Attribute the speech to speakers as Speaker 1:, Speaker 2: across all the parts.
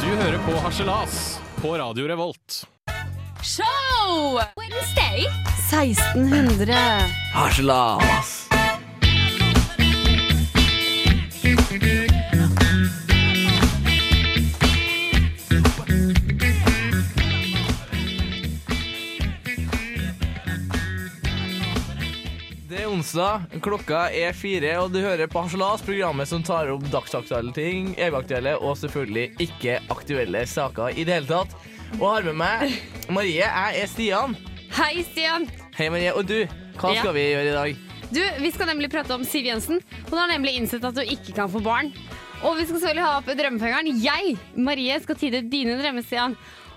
Speaker 1: hører på Harselas på Radio Revolt.
Speaker 2: Show! Wednesday!
Speaker 3: 1600.
Speaker 4: Det er onsdag, klokka er fire, og du hører på Harselas, programmet som tar opp dagsaktuelle ting, evigaktuelle og selvfølgelig ikke aktuelle saker i det hele tatt. Og har med meg Marie. Jeg er Stian.
Speaker 2: Hei, Stian.
Speaker 4: Hei, Marie. Og du, hva
Speaker 2: Ja.
Speaker 4: skal vi gjøre i dag?
Speaker 2: Du, Vi skal nemlig prate om Siv Jensen. Hun har nemlig innsett at hun ikke kan få barn. Og vi skal selvfølgelig ha opp drømmefangeren. Jeg, Marie, skal tide dine drømmer, Stian.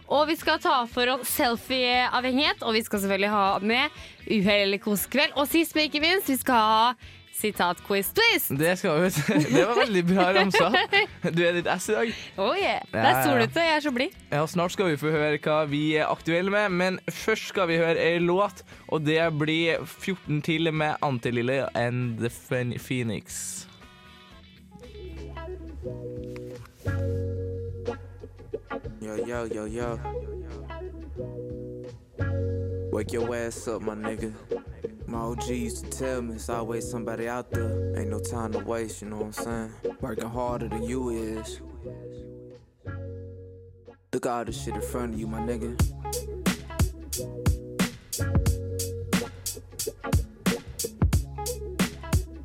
Speaker 2: Og vi skal ta for oss selfie-avhengighet, og vi skal selvfølgelig ha med uhell eller kosekveld. Og sist, men ikke minst, vi skal ha sitat-quiz-twist.
Speaker 4: Det skal vi ut. Det var veldig bra ramsa. Du er litt ass i dag.
Speaker 2: Oh, yeah. Det
Speaker 4: Ja, ja,
Speaker 2: er
Speaker 4: ja.
Speaker 2: solete, jeg er så blid.
Speaker 4: Ja, Snart skal vi få høre hva vi er aktuelle med, men først skal vi høre ei låt. Og det blir 14 til med Antilille and The Phen- Phoenix.
Speaker 5: Yo, yo, yo, yo. Wake your ass up, my nigga. My OG used to tell me it's always somebody out there. Ain't no time to waste, you know what I'm saying? Working harder than you is. Look at all the shit in front of you, my nigga.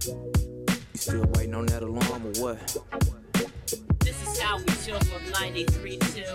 Speaker 5: You still waiting on that alarm or what?
Speaker 6: This is how we chill from 93 till.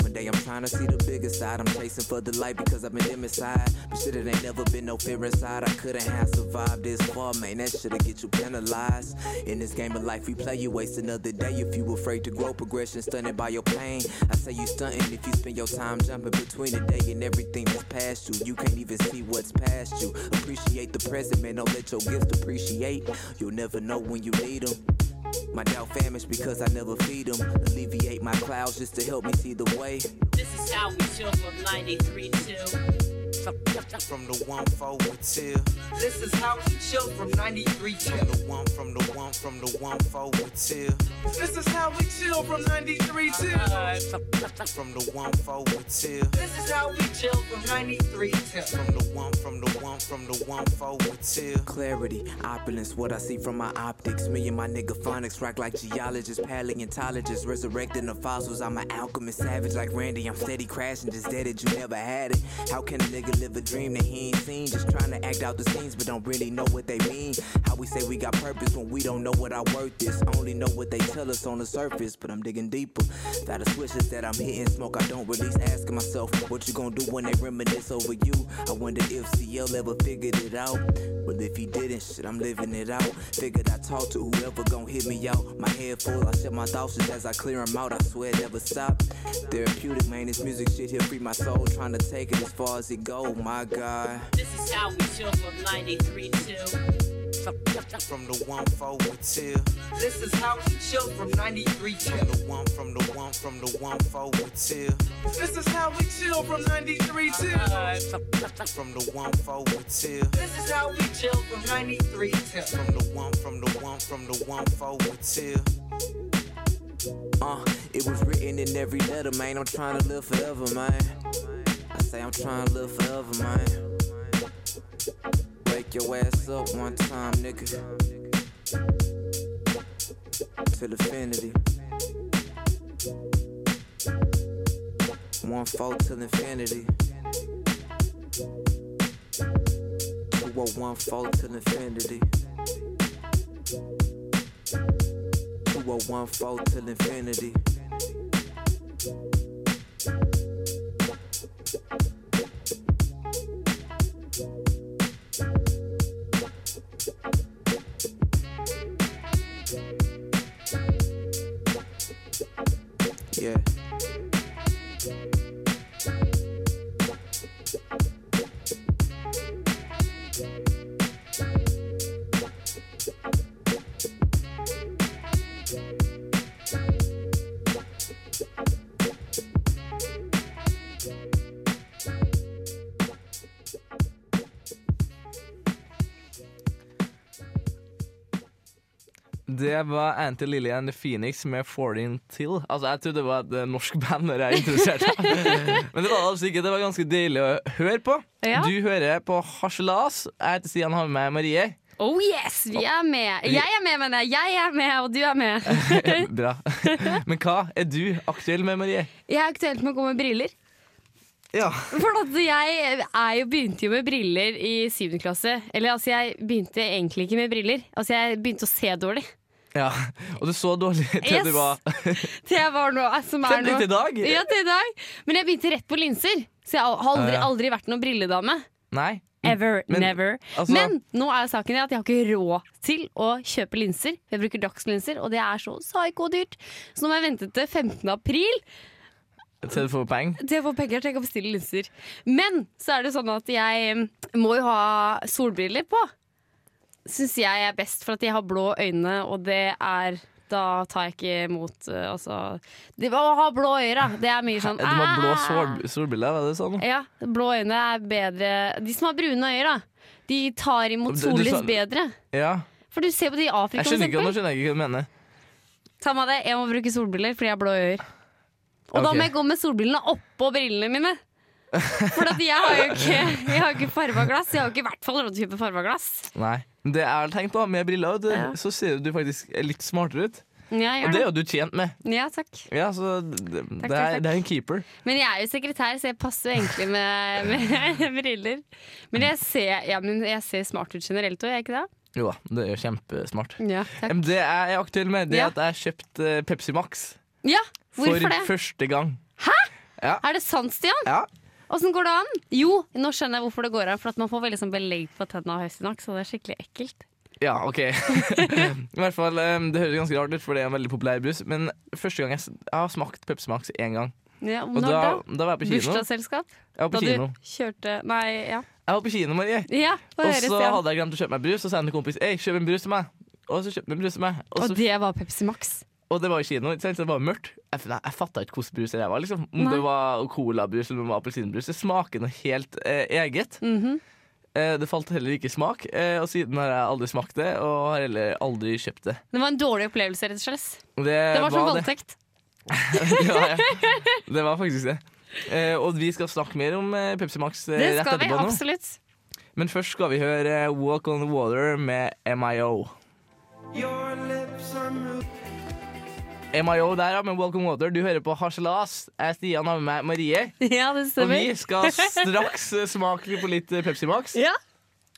Speaker 5: One day I'm trying to see the bigger side. I'm chasing for the light because I've been dim inside. But shit, it ain't never been no fear inside. I couldn't have survived this far, man. That shit'll get you penalized. In this game of life, we play, you waste another day. If you afraid to grow, progression stunted by your pain. I say you stunting if you spend your time jumping between the day and everything that's past you. You can't even see what's past you. Appreciate the present, man. Don't let your gifts depreciate. You'll never know when you need them. My doubt famished because I never feed them. Alleviate my clouds just to help me see the way.
Speaker 6: This is how we chill from 93 till.
Speaker 5: From the one forward till.
Speaker 6: This is how we chill from 93 till.
Speaker 5: From the one, from the one, from the one forward till.
Speaker 6: This is how we chill from 93 till.
Speaker 5: From the one forward till.
Speaker 6: This is how we chill from 93 till.
Speaker 5: From the one, from the one, from the one forward till. Clarity, opulence, what I see from my optics. Me and my nigga phonics rock like geologists, paleontologists, resurrecting the fossils. I'm an alchemist, savage like Randy. I'm steady crashing, just dead that you never had it. How can a nigga live a dream that he ain't seen? Just trying to act out the scenes, but don't really know what they mean. How we say we got purpose when we don't know what our worth is. Only know what they tell us on the surface, but I'm digging deeper. That the switches that I'm hitting smoke, I don't release. Asking myself, what you gonna do when they reminisce over you? I wonder if CL ever figured it out. Well, if he didn't, shit, I'm living it out. Figured I talk to whoever gon' hit me out. My head full, I shut my thoughts just as I clear them out. I swear it never stop. Therapeutic, man, this music shit here free my soul. Trying to take it as far as it go, my God.
Speaker 6: This is how we chill from 93 till.
Speaker 5: From the one forward till,
Speaker 6: This is how we chill from 93 till.
Speaker 5: the one from the one from the one forward till,
Speaker 6: This is how we chill from 93 till.
Speaker 5: from the one forward till.
Speaker 6: This is how we chill from 93 till.
Speaker 5: from the one, from the one, from the one forward till. Uh, it was written in every letter, man. I'm trying to live forever, man. I say I'm trying to live forever, man. Wake your ass up one time, nigga. Till infinity. One four till infinity. Two oh one four till infinity. 2014 till infinity. Yeah.
Speaker 4: Det var Anti Lillian Phoenix med 14 Till. Altså, jeg trodde det var et eh, norsk band når jeg introduserte det. Men det var det altså ikke. Det var ganske deilig å høre på.
Speaker 2: Ja.
Speaker 4: Du hører på Harselas. Jeg heter Stian, har med meg Marie.
Speaker 2: Oh yes, vi er med! Jeg er med, mener jeg. Jeg er med, og du er med.
Speaker 4: Bra. Men hva er du aktuell med, Marie?
Speaker 2: Jeg er aktuelt med å gå med briller.
Speaker 4: Ja.
Speaker 2: For at jeg er jo, begynte jo med briller i syvende klasse. Eller altså, jeg begynte egentlig ikke med briller. Altså, jeg begynte å se dårlig.
Speaker 4: Og du så dårlig til
Speaker 2: Yes.
Speaker 4: du var
Speaker 2: Til jeg var nå, som er
Speaker 4: Til
Speaker 2: nå.
Speaker 4: i dag?
Speaker 2: Ja, til i dag. Men jeg begynte rett på linser. Så jeg har aldri,
Speaker 4: Ja, ja.
Speaker 2: aldri vært noen brilledame.
Speaker 4: Nei.
Speaker 2: Ever,
Speaker 4: Men,
Speaker 2: never.
Speaker 4: altså-
Speaker 2: Men nå er saken det at jeg har ikke råd til å kjøpe linser. Jeg bruker dagslinser, og det er så psyko-dyrt. Så nå må jeg vente til 15. april
Speaker 4: Til du får penger?
Speaker 2: til jeg får penger til jeg kan bestille linser. Men så er det sånn at jeg mm, må jo ha solbriller på. Syns jeg er best, for at jeg har blå øyne, og det er da tar jeg ikke imot eh, altså, det, Å ha blå øyne, da! Det er Eh, mye sånn
Speaker 4: Du må ha blå
Speaker 2: «Ah!»
Speaker 4: sol- solbriller, var det sånn?
Speaker 2: Ja, blå øyne er bedre De som har brune øyne, da. De tar imot
Speaker 4: Du- du
Speaker 2: sollys
Speaker 4: sa-
Speaker 2: bedre.
Speaker 4: Ja.
Speaker 2: For du ser på de i Afrika,
Speaker 4: Jeg
Speaker 2: for
Speaker 4: skjønner ikke, nå
Speaker 2: eksempel.
Speaker 4: skjønner jeg ikke hva du mener.
Speaker 2: Ta med deg, jeg må bruke solbriller fordi jeg har blå øyne. Og da
Speaker 4: Ok.
Speaker 2: må jeg gå med solbrillene oppå brillene mine. For at jeg har jo ikke, jeg har ikke farga glass. Jeg har ikke i hvert fall noen type farga glass.
Speaker 4: Nei. Men Det jeg har tenkt da, med briller, vet du,
Speaker 2: Ja.
Speaker 4: så ser du faktisk litt smartere ut.
Speaker 2: Ja, jeg
Speaker 4: Og
Speaker 2: gjør
Speaker 4: det
Speaker 2: det.
Speaker 4: er jo du tjent med.
Speaker 2: Ja, takk.
Speaker 4: Ja, så det, det,
Speaker 2: Takk,
Speaker 4: det, er,
Speaker 2: takk.
Speaker 4: det er en keeper.
Speaker 2: Men jeg er jo sekretær, så jeg passer jo egentlig med, med briller. Men jeg ser, ja, men jeg ser smart ut generelt òg, gjør jeg ikke det?
Speaker 4: Jo da, det er jo kjempesmart.
Speaker 2: Ja, takk.
Speaker 4: Men Det jeg er aktuell med, det er
Speaker 2: Ja.
Speaker 4: at jeg har kjøpt eh, Pepsi Max
Speaker 2: Ja,
Speaker 4: for
Speaker 2: hvorfor det?
Speaker 4: første gang.
Speaker 2: Er det sant, Stian?
Speaker 4: Ja.
Speaker 2: Åssen går det an? Jo, nå skjønner jeg hvorfor det går an. For at man får veldig sånn belegg på tenna av høsten nok, så det er skikkelig ekkelt.
Speaker 4: Ja, OK. I hvert fall, eh, Det høres ganske rart ut, for det er en veldig populær brus. Men første gang jeg, s- jeg har smakt Pepsi Max én gang.
Speaker 2: Ja,
Speaker 4: Og
Speaker 2: når
Speaker 4: da,
Speaker 2: da?
Speaker 4: da var jeg på kino.
Speaker 2: Bursdagsselskap?
Speaker 4: Jeg
Speaker 2: Da
Speaker 4: var på kino,
Speaker 2: du kjørte Nei, ja.
Speaker 4: jeg var på kino Marie.
Speaker 2: Ja, få
Speaker 4: Og
Speaker 2: høre,
Speaker 4: så
Speaker 2: Stian.
Speaker 4: hadde jeg glemt å kjøpe meg brus, og så sa jeg til en kompis Ei, kjøp en brus til meg. Og så kjøpte jeg en brus til meg. Og,
Speaker 2: Og
Speaker 4: så,
Speaker 2: det var Pepsi Max.
Speaker 4: og det var i kino, ikke sant? så det var mørkt. Jeg, f- nei, jeg fatta ikke hvilken brus det var. Liksom. Om
Speaker 2: Nei.
Speaker 4: det var colabrus eller om det var appelsinbrus. Det smaker noe helt eh, eget.
Speaker 2: Mhm.
Speaker 4: eh, det falt heller ikke i smak, eh, og siden har jeg aldri smakt det, og har heller aldri kjøpt det.
Speaker 2: Det var en dårlig opplevelse, rett og slett.
Speaker 4: Det,
Speaker 2: Det var som
Speaker 4: Eh, det.
Speaker 2: voldtekt.
Speaker 4: ja, ja. det var faktisk det. Eh, og vi skal snakke mer om eh, Pepsi Max eh,
Speaker 2: Det
Speaker 4: rett
Speaker 2: skal vi,
Speaker 4: etterpå. nå.
Speaker 2: absolutt.
Speaker 4: Men først skal vi høre eh, Walk on Water med MIO. MIO der, ja, med Walk on Water. Du hører på Harselas. Jeg er Stian har med meg Marie.
Speaker 2: Ja, det
Speaker 4: Og
Speaker 2: stemmer.
Speaker 4: vi skal straks eh, smake på litt eh, Pepsi Max.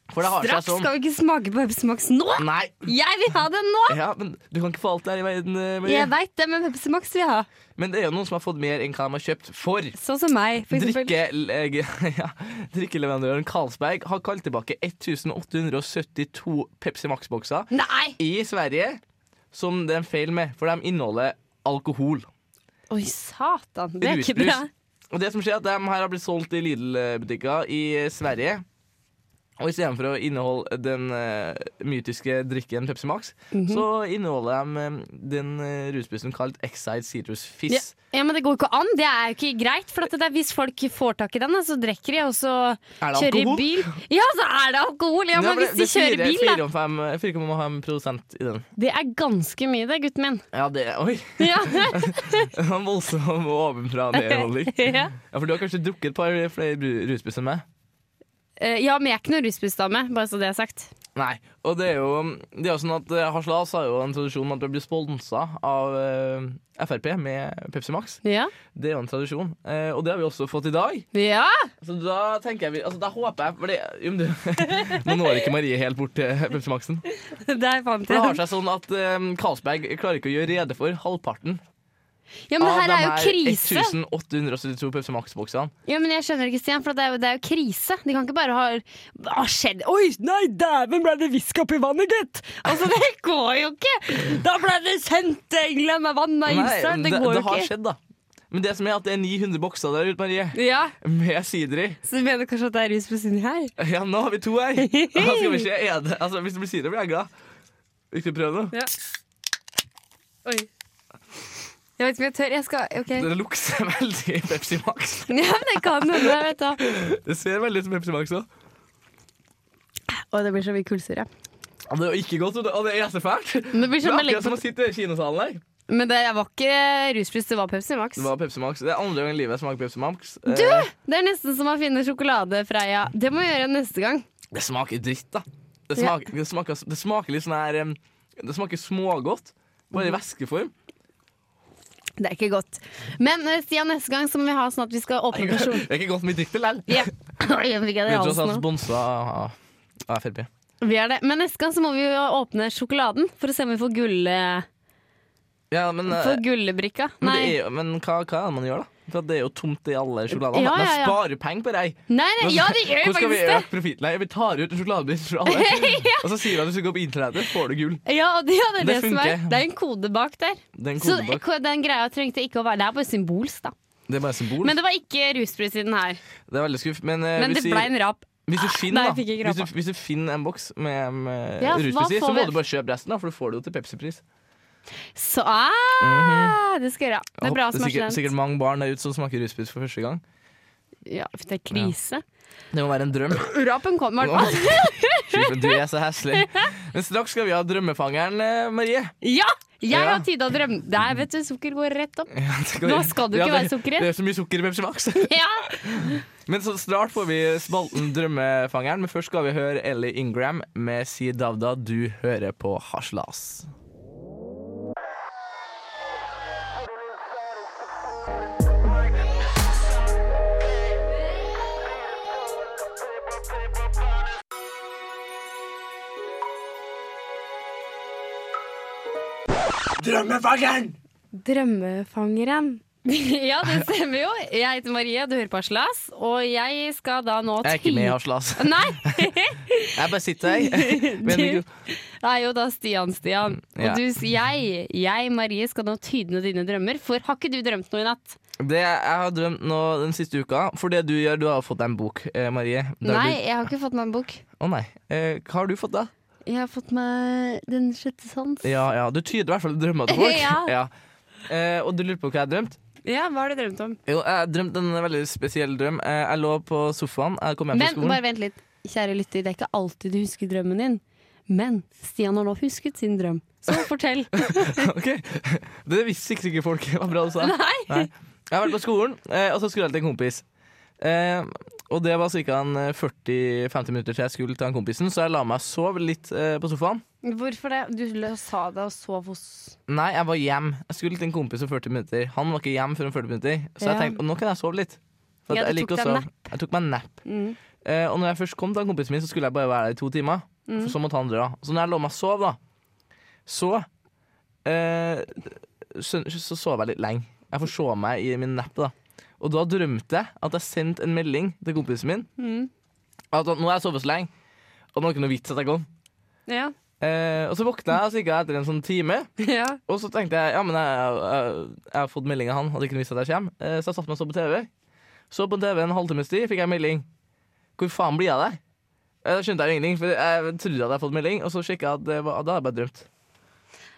Speaker 2: Ja,
Speaker 4: For det har
Speaker 2: Straks
Speaker 4: seg
Speaker 2: skal
Speaker 4: sånn.
Speaker 2: vi ikke smake på Pepsi Max nå!
Speaker 4: Nei.
Speaker 2: Jeg vil ha den nå!
Speaker 4: Ja, men Du kan ikke få alt det her i verden, eh, Marie.
Speaker 2: Jeg veit det, men Pepsi Max vil jeg ha.
Speaker 4: Men det er jo noen som har fått mer enn hva de har kjøpt for.
Speaker 2: Sånn som meg, for eksempel.
Speaker 4: Drikke, eh, ja, drikkeleverandøren Carlsberg har kalt tilbake 1872 Pepsi Max-bokser
Speaker 2: Nei!
Speaker 4: i Sverige som det er en feil med, for de inneholder alkohol.
Speaker 2: Oi, satan. Det er ikke
Speaker 4: Rusbrus.
Speaker 2: bra.
Speaker 4: Og det som skjer er at de her har blitt solgt i Lidl-butikker i Sverige. Og istedenfor å inneholde den eh, mytiske drikken Pepsi Max,
Speaker 2: Mhm.
Speaker 4: så inneholder de eh, den eh, rusbrusen kalt Excite Citrus Fizz.
Speaker 2: Ja. ja, men Det går ikke an. Det er jo ikke greit. For at det er Hvis folk får tak i den, da, så drikker de, og så
Speaker 4: Er det
Speaker 2: kjører de
Speaker 4: alkohol?
Speaker 2: bil. Ja, så er det alkohol! Ja,
Speaker 4: Ja,
Speaker 2: men
Speaker 4: for det-
Speaker 2: hvis de
Speaker 4: det
Speaker 2: kjører
Speaker 4: er
Speaker 2: bil, da.
Speaker 4: 4,5 4,5 prosent i den.
Speaker 2: Det er ganske mye, det, gutten min.
Speaker 4: Ja, det Oi!
Speaker 2: Ja.
Speaker 4: Det var en voldsom ovenfra-ned-holdning.
Speaker 2: ja.
Speaker 4: Ja, for du har kanskje drukket et par flere bru- rusbrus enn meg?
Speaker 2: Eh, ja, men jeg er ikke noen rusbussdame, bare så det er sagt.
Speaker 4: Nei. Og det er jo, det er jo sånn at eh, Haslas har jo en tradisjon med at du blir sponsa av eh, Frp med Pepsi Max.
Speaker 2: Ja.
Speaker 4: Det er jo en tradisjon, eh, og det har vi også fått i dag.
Speaker 2: ja!
Speaker 4: Så da tenker jeg vi, altså da håper jeg for det, jo, men du, Nå når ikke Marie helt bort til Pepsi Maxen.
Speaker 2: Der fant
Speaker 4: For det har
Speaker 2: jeg den.
Speaker 4: seg sånn at eh, Carlsberg klarer ikke å gjøre rede for halvparten
Speaker 2: Ja, men her
Speaker 4: de
Speaker 2: er jo krise.
Speaker 4: 1872 Pepsi Max-boksene.
Speaker 2: Ja, men jeg skjønner ikke, Stian, for det er jo, det er jo krise. De kan ikke bare ha Hva har skjedd? Oi, nei, dæven ble det visk oppi vannet, gitt! Altså, det går jo ikke! Da ble det sendt til England med vann av
Speaker 4: Nei,
Speaker 2: ymse. Det
Speaker 4: det,
Speaker 2: går
Speaker 4: det
Speaker 2: jo
Speaker 4: har
Speaker 2: ikke.
Speaker 4: skjedd, da. Men det som er at det er 900 bokser der ute, Marie.
Speaker 2: Ja,
Speaker 4: Med sider i.
Speaker 2: Så du mener kanskje at det er rus på siden her?
Speaker 4: Ja, nå har vi to her. Da skal vi se. Er det, altså, hvis det blir sider, blir jeg glad. Vi skal prøve nå.
Speaker 2: Ja. Oi. Jeg vet ikke om jeg tør. Jeg skal OK. Ja,
Speaker 4: Det lukter veldig Pepsi Max.
Speaker 2: men det kan hende. jeg vet da.
Speaker 4: Det ser veldig ut som Pepsi Max òg.
Speaker 2: Å, det blir så mye kullsyre.
Speaker 4: Det er jo ikke godt, og det- og det er så fælt.
Speaker 2: Men det blir
Speaker 4: Det er
Speaker 2: sånn det
Speaker 4: akkurat
Speaker 2: legger
Speaker 4: som
Speaker 2: på
Speaker 4: å sitte i kinosalen der.
Speaker 2: Men det var ikke ruspris, det var Pepsi Max.
Speaker 4: Det var Pepsi Max. Det er andre gang i livet jeg smaker Pepsi Max. Eh,
Speaker 2: Du! Det er nesten som å finne sjokolade, Freia. Det må jeg gjøre neste gang.
Speaker 4: Det smaker dritt, da. Det smaker, det smaker, det smaker litt sånn her em, Det smaker smågodt, bare i væskeform.
Speaker 2: Det er ikke godt. Men eh, Stian, neste gang så må vi ha sånn at vi skal åpne person.
Speaker 4: Det er ikke godt med drikke likevel.
Speaker 2: Ja. Oi, jeg fikk det i
Speaker 4: Vi er tross
Speaker 2: halsen
Speaker 4: alt
Speaker 2: nå.
Speaker 4: sponsa av av Frp.
Speaker 2: Vi er det. Men neste gang så må vi jo åpne sjokoladen for å se om vi får, gull,
Speaker 4: Ja, men, eh,
Speaker 2: får gullebrikka.
Speaker 4: men,
Speaker 2: Nei.
Speaker 4: det er, jo- men hva, hva er det man gjør, da? For at det er jo tomt i alle sjokoladene.
Speaker 2: Ja, ja, ja.
Speaker 4: Man sparer penger på det.
Speaker 2: nei, nei, ja, det gjør jo
Speaker 4: Hvordan skal vi
Speaker 2: faktisk det!
Speaker 4: øke profitten? Nei, vi tar ut en sjokoladebit fra alle. Og så sier vi at hvis du går på internettet, får du gull.
Speaker 2: Ja, og det, ja, det, er det,
Speaker 4: Det
Speaker 2: som er.
Speaker 4: funker.
Speaker 2: det er en kode bak der.
Speaker 4: Den
Speaker 2: Så
Speaker 4: koden bak.
Speaker 2: ko- den greia trengte ikke å være Det er bare symbolsk, da.
Speaker 4: Det er bare symbol.
Speaker 2: Men det var ikke ruspris i den her.
Speaker 4: det er veldig skuff. Men, eh,
Speaker 2: Men
Speaker 4: hvis
Speaker 2: det
Speaker 4: vi-
Speaker 2: ble en rap.
Speaker 4: Hvis du finner,
Speaker 2: Nei,
Speaker 4: da,
Speaker 2: jeg fikk ikke
Speaker 4: hvis,
Speaker 2: rappa.
Speaker 4: du, hvis du finner en boks med, med
Speaker 2: Ja, hva
Speaker 4: ruspris i,
Speaker 2: får
Speaker 4: så må
Speaker 2: vi?
Speaker 4: du bare kjøpe resten, da, for du får det jo til Pepsi-pris.
Speaker 2: Så ah, Det skal jeg gjøre. Det er bra som er
Speaker 4: sikkert,
Speaker 2: student.
Speaker 4: sikkert mange barn der ute som smaker ruspris for første gang.
Speaker 2: Ja, for det er krise.
Speaker 4: Det må være en drøm.
Speaker 2: Rapen kom i hvert fall.
Speaker 4: Fy, men du er så heslig. Men straks skal vi ha Drømmefangeren, eh, Marie.
Speaker 2: Ja! Jeg
Speaker 4: Ja.
Speaker 2: har tid til å drømme. Der, vet du, sukker går rett opp.
Speaker 4: Ja, det
Speaker 2: Nå skal du ikke
Speaker 4: det-
Speaker 2: være sukkeret.
Speaker 4: Det er så mye sukker i Pepsi Max.
Speaker 2: Ja.
Speaker 4: Men så snart får vi spalten Drømmefangeren, men først skal vi høre Ellie Ingram med Si Davda, du hører på Haslas.
Speaker 2: Drømmefangeren. ja, det stemmer jo. Jeg heter Marie, du hører på Aslas, og jeg skal da nå
Speaker 4: Jeg er ikke med i Haslas.
Speaker 2: Nei!
Speaker 4: Jeg bare sitter her. Men det er ikke-
Speaker 2: Det er jo da Stian, Stian.
Speaker 4: Ja.
Speaker 2: Og du, s- jeg, jeg, Marie, skal nå tydne dine drømmer, for har ikke du drømt noe i natt?
Speaker 4: Det jeg har drømt nå den siste uka For det du gjør, du har fått deg en bok, eh, Marie. Der
Speaker 2: Nei,
Speaker 4: Du,
Speaker 2: jeg har ikke fått meg en bok.
Speaker 4: å nei. Eh, hva har du fått, da?
Speaker 2: Jeg har fått meg Den sjette sans.
Speaker 4: Ja, ja, Du tyder i hvert fall drømmer til folk.
Speaker 2: Ja.
Speaker 4: Eh, og du lurer på hva jeg drømte?
Speaker 2: Ja, hva har du drømt om?
Speaker 4: Jo, jeg drømte en veldig spesiell drøm. Eh, jeg lå på sofaen, jeg kom hjem fra
Speaker 2: Men
Speaker 4: skolen.
Speaker 2: bare vent litt, kjære lytter, det er ikke alltid du husker drømmen din. Men Stian har nå husket sin drøm. Så fortell.
Speaker 4: Ok. Det visste sikkert ikke folk. Det var bra du sa.
Speaker 2: Nei!
Speaker 4: Nei. Jeg har vært på skolen, eh, og så skulle jeg til en kompis. Eh, og det var ca. 40-50 minutter til jeg skulle til han kompisen, så jeg la meg sove litt eh, på sofaen.
Speaker 2: Hvorfor det? Du lø- sa det og sov hos
Speaker 4: Nei, jeg var hjem. Jeg skulle til en kompis om 40 minutter. Han var ikke hjem før om 40 minutter. Så jeg
Speaker 2: Ja.
Speaker 4: tenkte nå kan jeg sove litt. For at
Speaker 2: Ja, du
Speaker 4: jeg liker
Speaker 2: tok
Speaker 4: å
Speaker 2: deg en
Speaker 4: sove. Jeg tok meg en napp.
Speaker 2: Mm.
Speaker 4: Eh, og når jeg først kom til han kompisen min, så skulle jeg bare være der i to timer. For så måtte han dra. Så når jeg lå meg og sov, da, så eh, så, så sov jeg litt lenge. Jeg forså meg i min napp, da. Og da drømte jeg at jeg sendte en melding til kompisen min. At nå har jeg sovet så lenge, og nå er det ikke noe vits at jeg kom.
Speaker 2: Ja.
Speaker 4: Eh, og så våkna jeg og så gikk jeg etter en sånn time.
Speaker 2: ja.
Speaker 4: Og så tenkte jeg ja, men jeg, jeg, jeg har fått melding av han, hadde ikke visst at jeg kommer. Eh, Så jeg satte meg og så på TV. Så på TV en halvtimes tid, fikk jeg melding. Hvor faen blir jeg der? Eh, Da skjønte jeg jo ingenting, for jeg trodde jeg hadde fått melding, og så sjekka jeg at det var, da hadde jeg bare drømt.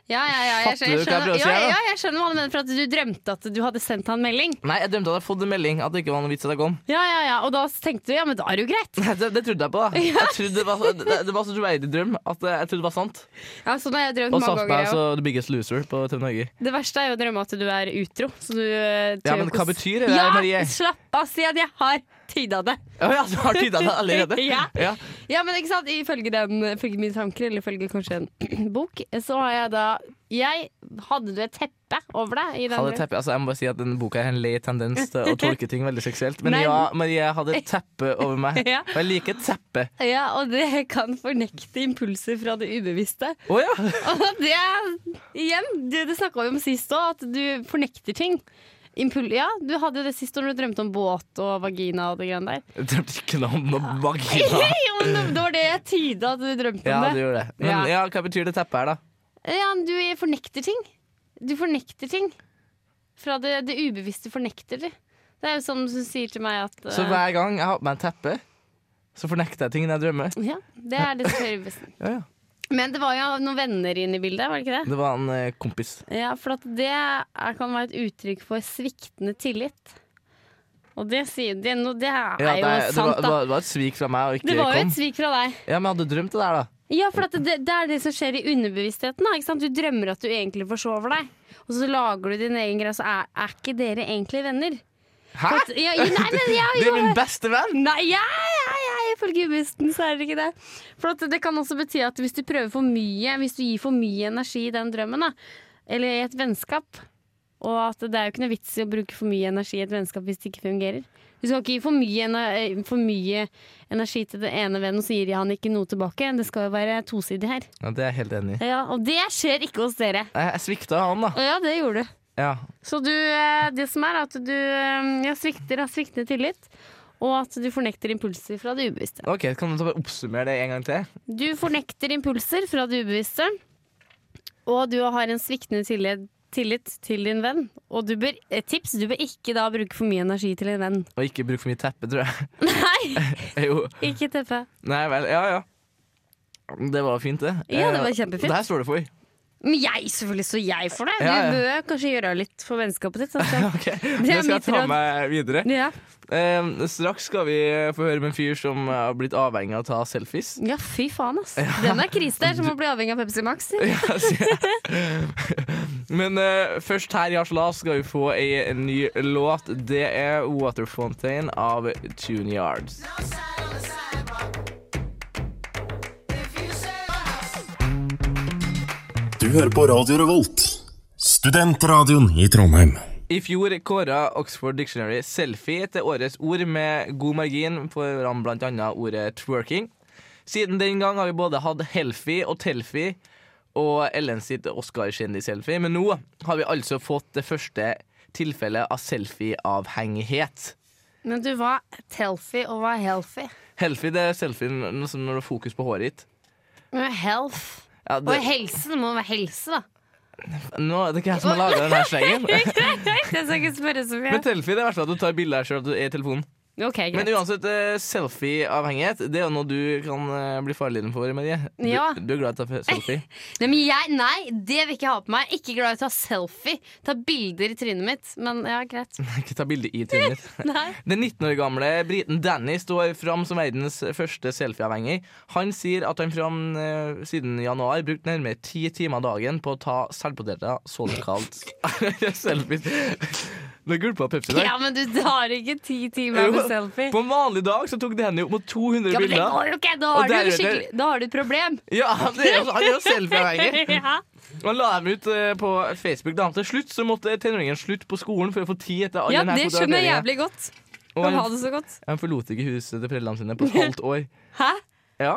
Speaker 2: Ja, ja, ja, jeg,
Speaker 4: Fatter
Speaker 2: skjønner,
Speaker 4: du
Speaker 2: jeg, skjønner, ja,
Speaker 4: hva jeg prøver å si her, da?
Speaker 2: ja, jeg skjønner hva du mener, for at du drømte at du hadde sendt han melding.
Speaker 4: Nei, jeg drømte at jeg hadde fått en melding, at det ikke var noen vits at jeg kom.
Speaker 2: Ja, ja, ja, Og da tenkte du ja, men da er det jo greit.
Speaker 4: Nei, Det, det trodde jeg på, da. Jeg trodde det, var, det, det var så troverdig drøm at eh, jeg trodde det var sant.
Speaker 2: Ja, sånn har jeg drømt
Speaker 4: Og
Speaker 2: mange
Speaker 4: satt
Speaker 2: ganger.
Speaker 4: meg
Speaker 2: jeg
Speaker 4: så The Biggest Loser på TV Norge.
Speaker 2: også. Det verste er jo å drømme at du er utro. Så du eh,
Speaker 4: Ja, men hva betyr det,
Speaker 2: ja,
Speaker 4: Marie?
Speaker 2: Slapp av, si at jeg har tyda det.
Speaker 4: Å ja, du har tyda det allerede?
Speaker 2: Ja.
Speaker 4: ja.
Speaker 2: Ja, men ikke sant, Ifølge den, ifølge mine tanker, eller ifølge kanskje en bok, så har jeg da Jeg Hadde du et teppe over deg i den
Speaker 4: Hadde
Speaker 2: drømmen?
Speaker 4: teppe, altså jeg må bare si at denne boka er en lei tendens til å tolke ting veldig seksuelt. Men
Speaker 2: Nei.
Speaker 4: ja, Marie jeg hadde et teppe over meg.
Speaker 2: Ja.
Speaker 4: Og jeg liker teppe.
Speaker 2: Ja, og det kan fornekte impulser fra det ubevisste.
Speaker 4: Å ja!
Speaker 2: Og det igjen, det, det snakka vi om sist òg, at du fornekter ting. Impul ja, du hadde jo det sist når du drømte om båt og vagina og det greiene der.
Speaker 4: Jeg drømte ikke noe om noe vagina.
Speaker 2: Jo, men det, det var det jeg tyda at du drømte
Speaker 4: Ja,
Speaker 2: om
Speaker 4: du
Speaker 2: det.
Speaker 4: gjorde det. Men
Speaker 2: Ja.
Speaker 4: ja, hva betyr det teppet her, da?
Speaker 2: Ja, men du fornekter ting. Du fornekter ting. Fra det, det ubevisste fornekter de. Det er jo som du sier til meg at
Speaker 4: Så
Speaker 2: eh,
Speaker 4: hver gang jeg har på meg teppe, så fornekter jeg ting jeg drømmer.
Speaker 2: ja, Det er det som skjer i ubevissten.
Speaker 4: Ja, ja.
Speaker 2: Men det var jo noen venner inne i bildet, var det ikke det?
Speaker 4: Det var en eh, kompis.
Speaker 2: Ja, for at det er, kan være et uttrykk for sviktende tillit. Og det, sier, det, er no, det er
Speaker 4: Ja, det,
Speaker 2: jo
Speaker 4: det, var,
Speaker 2: sant,
Speaker 4: det,
Speaker 2: da.
Speaker 4: var, det var et svik fra meg å ikke
Speaker 2: Det var jo
Speaker 4: kom.
Speaker 2: et svik fra deg.
Speaker 4: Ja, men jeg hadde drømt det der, da.
Speaker 2: Ja, for at det, det er det som skjer i underbevisstheten. Da, ikke sant? Du drømmer at du egentlig forsover deg, og så lager du din egen greie, og så er, er ikke dere egentlig venner.
Speaker 4: Hæ?!
Speaker 2: For at- Ja, nei, nei, ja,
Speaker 4: Det er
Speaker 2: jo.
Speaker 4: min beste venn!
Speaker 2: Nei, ja, ja, ja, ifølge ubisten så er det ikke det. For at det kan også bety at hvis du prøver for mye, hvis du gir for mye energi i den drømmen, da, eller i et vennskap, og at det er jo ikke noe vits i å bruke for mye energi i et vennskap hvis det ikke fungerer. Du skal ikke gi for mye, ener- eh, for mye energi til den ene vennen, og så gir han ikke noe tilbake. Det skal jo være tosidig her.
Speaker 4: Ja, det er jeg helt enig i.
Speaker 2: Ja, og det skjer ikke hos dere.
Speaker 4: Jeg, jeg svikta han, da.
Speaker 2: Å Ja, det gjorde du.
Speaker 4: Ja.
Speaker 2: Så du, eh, det som er at du eh, ja, svikter av sviktende tillit, og at du fornekter impulser fra det ubevisste.
Speaker 4: OK, kan du ta bare oppsummere det en gang til?
Speaker 2: Du fornekter impulser fra det ubevisste, og du har en sviktende tillit, tillit til din venn. Og du bør, eh, tips, du bør ikke da bruke for mye energi til en venn.
Speaker 4: Og ikke bruke for mye teppe, tror jeg.
Speaker 2: Nei,
Speaker 4: jo.
Speaker 2: ikke teppe.
Speaker 4: Nei vel. Ja, ja. Det var fint, det.
Speaker 2: Ja, det var
Speaker 4: Eh,
Speaker 2: kjempefint.
Speaker 4: Det her står det for.
Speaker 2: Men jeg, selvfølgelig står jeg for det. Du
Speaker 4: Ja, ja.
Speaker 2: bør kanskje gjøre litt for vennskapet ditt. sånn at-
Speaker 4: Ok, Det skal jeg
Speaker 2: mitt
Speaker 4: ta
Speaker 2: råd.
Speaker 4: med videre.
Speaker 2: Ja.
Speaker 4: Eh, straks skal vi få høre med en fyr som har blitt avhengig av å ta selfies.
Speaker 2: ja, fy faen, ass. Den er krise der, som å bli avhengig av Pepsi Max.
Speaker 4: Ja, sier jeg. Men eh, først her i Harselas skal vi få ei ny låt. Det er Water Fountain av Tune Yards.
Speaker 7: Du hører på Radio Revolt, studentradioen i Trondheim.
Speaker 4: I fjor kåra Oxford Dictionary 'selfie' til årets ord med god margin, foran bl.a. ordet 'twerking'. Siden den gang har vi både hatt Helfi og Telfi og Ellen sitt Oscar-kjendis-selfie, men nå har vi altså fått det første tilfellet av selfie-avhengighet.
Speaker 2: Men du, hva er telfy, og hva er healthy?
Speaker 4: Helfi det er selfien noe som når du har fokus på håret ditt.
Speaker 2: Men Health.
Speaker 4: Ja,
Speaker 2: Og
Speaker 4: det,
Speaker 2: helse, det må være helse, da.
Speaker 4: nå er det ikke jeg som har laga denne slengen.
Speaker 2: Jeg skal ikke spørre så mye.
Speaker 4: Men Telfi det er i hvert fall at du tar bilde av deg sjøl i telefonen.
Speaker 2: Ok, greit.
Speaker 4: Men uansett, eh, selfie-avhengighet Det er jo noe du kan eh, bli farligere for, Marie. Du,
Speaker 2: Ja.
Speaker 4: du er glad i å ta selfie.
Speaker 2: Nei, men jeg, nei, det vil ikke jeg ha på meg. Ikke glad i å ta selfie. Ta bilder i trynet mitt. Men ja, greit.
Speaker 4: Ikke ta bilde i trynet ditt.
Speaker 2: Nei.
Speaker 4: Den 19 år gamle briten Danny står fram som verdens første selfie-avhengig. Han sier at han fram eh, siden januar brukte nærmere ti timer dagen på å ta selvportretter, såkalt selfies. Du gulpa Pepsi der.
Speaker 2: Ja, men du tar ikke ti timer
Speaker 4: Jo,
Speaker 2: med selfie.
Speaker 4: På en vanlig dag så tok Danny opp mot
Speaker 2: Ja,
Speaker 4: 200
Speaker 2: men det
Speaker 4: bilder.
Speaker 2: går jo ikke! Da
Speaker 4: Og
Speaker 2: har,
Speaker 4: der
Speaker 2: du
Speaker 4: er det-
Speaker 2: skikkelig- da har du et problem.
Speaker 4: Ja, det er jo, han er jo selfie-avhengig.
Speaker 2: Ja.
Speaker 4: Han la dem ut eh, på Facebook. Da. Til slutt så måtte tenåringen slutte på skolen for å få tid etter all
Speaker 2: ja,
Speaker 4: denne
Speaker 2: det skjønner jeg
Speaker 4: fotograferingen.
Speaker 2: jævlig godt.
Speaker 4: Og
Speaker 2: Kan ha
Speaker 4: han,
Speaker 2: det så godt.
Speaker 4: han forlot ikke huset til foreldrene sine på et halvt år.
Speaker 2: Hæ?
Speaker 4: Ja.